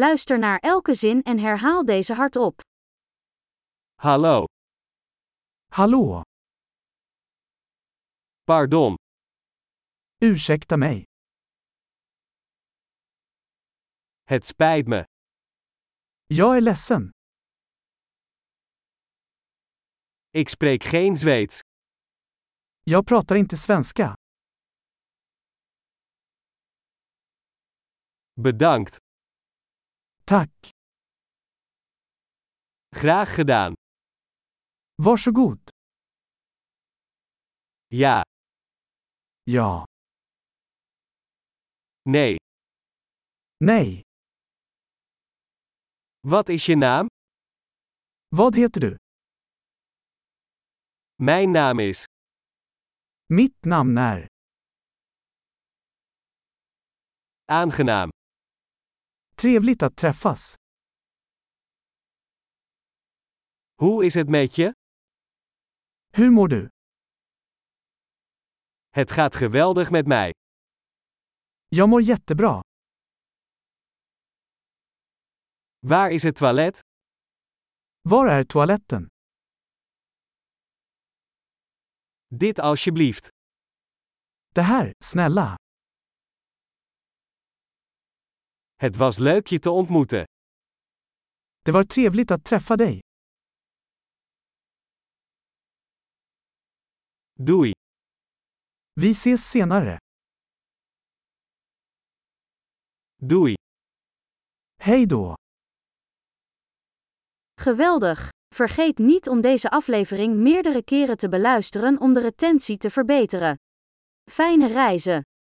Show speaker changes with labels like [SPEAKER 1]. [SPEAKER 1] Luister naar elke zin en herhaal deze hardop.
[SPEAKER 2] Hallo,
[SPEAKER 3] Hallå!
[SPEAKER 2] pardon,
[SPEAKER 3] Ursäkta mig.
[SPEAKER 2] het spijt me.
[SPEAKER 3] Jag är ledsen.
[SPEAKER 2] Ik spreek geen Zweeds.
[SPEAKER 3] Jag pratar inte svenska.
[SPEAKER 2] Bedankt,
[SPEAKER 3] Tack.
[SPEAKER 2] graag gedaan.
[SPEAKER 3] Varsågod.
[SPEAKER 2] Ja,
[SPEAKER 3] Ja.
[SPEAKER 2] nee.
[SPEAKER 3] Nej.
[SPEAKER 2] Wat is je naam?
[SPEAKER 3] Vad heter du?
[SPEAKER 2] Mijn naam is.
[SPEAKER 3] Mitt namn är.
[SPEAKER 2] Aangenaam.
[SPEAKER 3] Trevligt att träffas.
[SPEAKER 2] Hoe is het met je?
[SPEAKER 3] Hur mår du?
[SPEAKER 2] Het gaat geweldig met mij.
[SPEAKER 3] Jag mår jättebra.
[SPEAKER 2] Waar is het toilet?
[SPEAKER 3] Var är toaletten?
[SPEAKER 2] Dit alsjeblieft.
[SPEAKER 3] Det här, snälla.
[SPEAKER 2] Het was leuk je te ontmoeten.
[SPEAKER 3] Det var trevligt att träffa dig.
[SPEAKER 2] Doei.
[SPEAKER 3] Vi ses senare.
[SPEAKER 2] Doei.
[SPEAKER 3] Hej då!
[SPEAKER 1] Geweldig! Vergeet niet om deze aflevering meerdere keren te beluisteren om de retentie te verbeteren. Fijne reizen!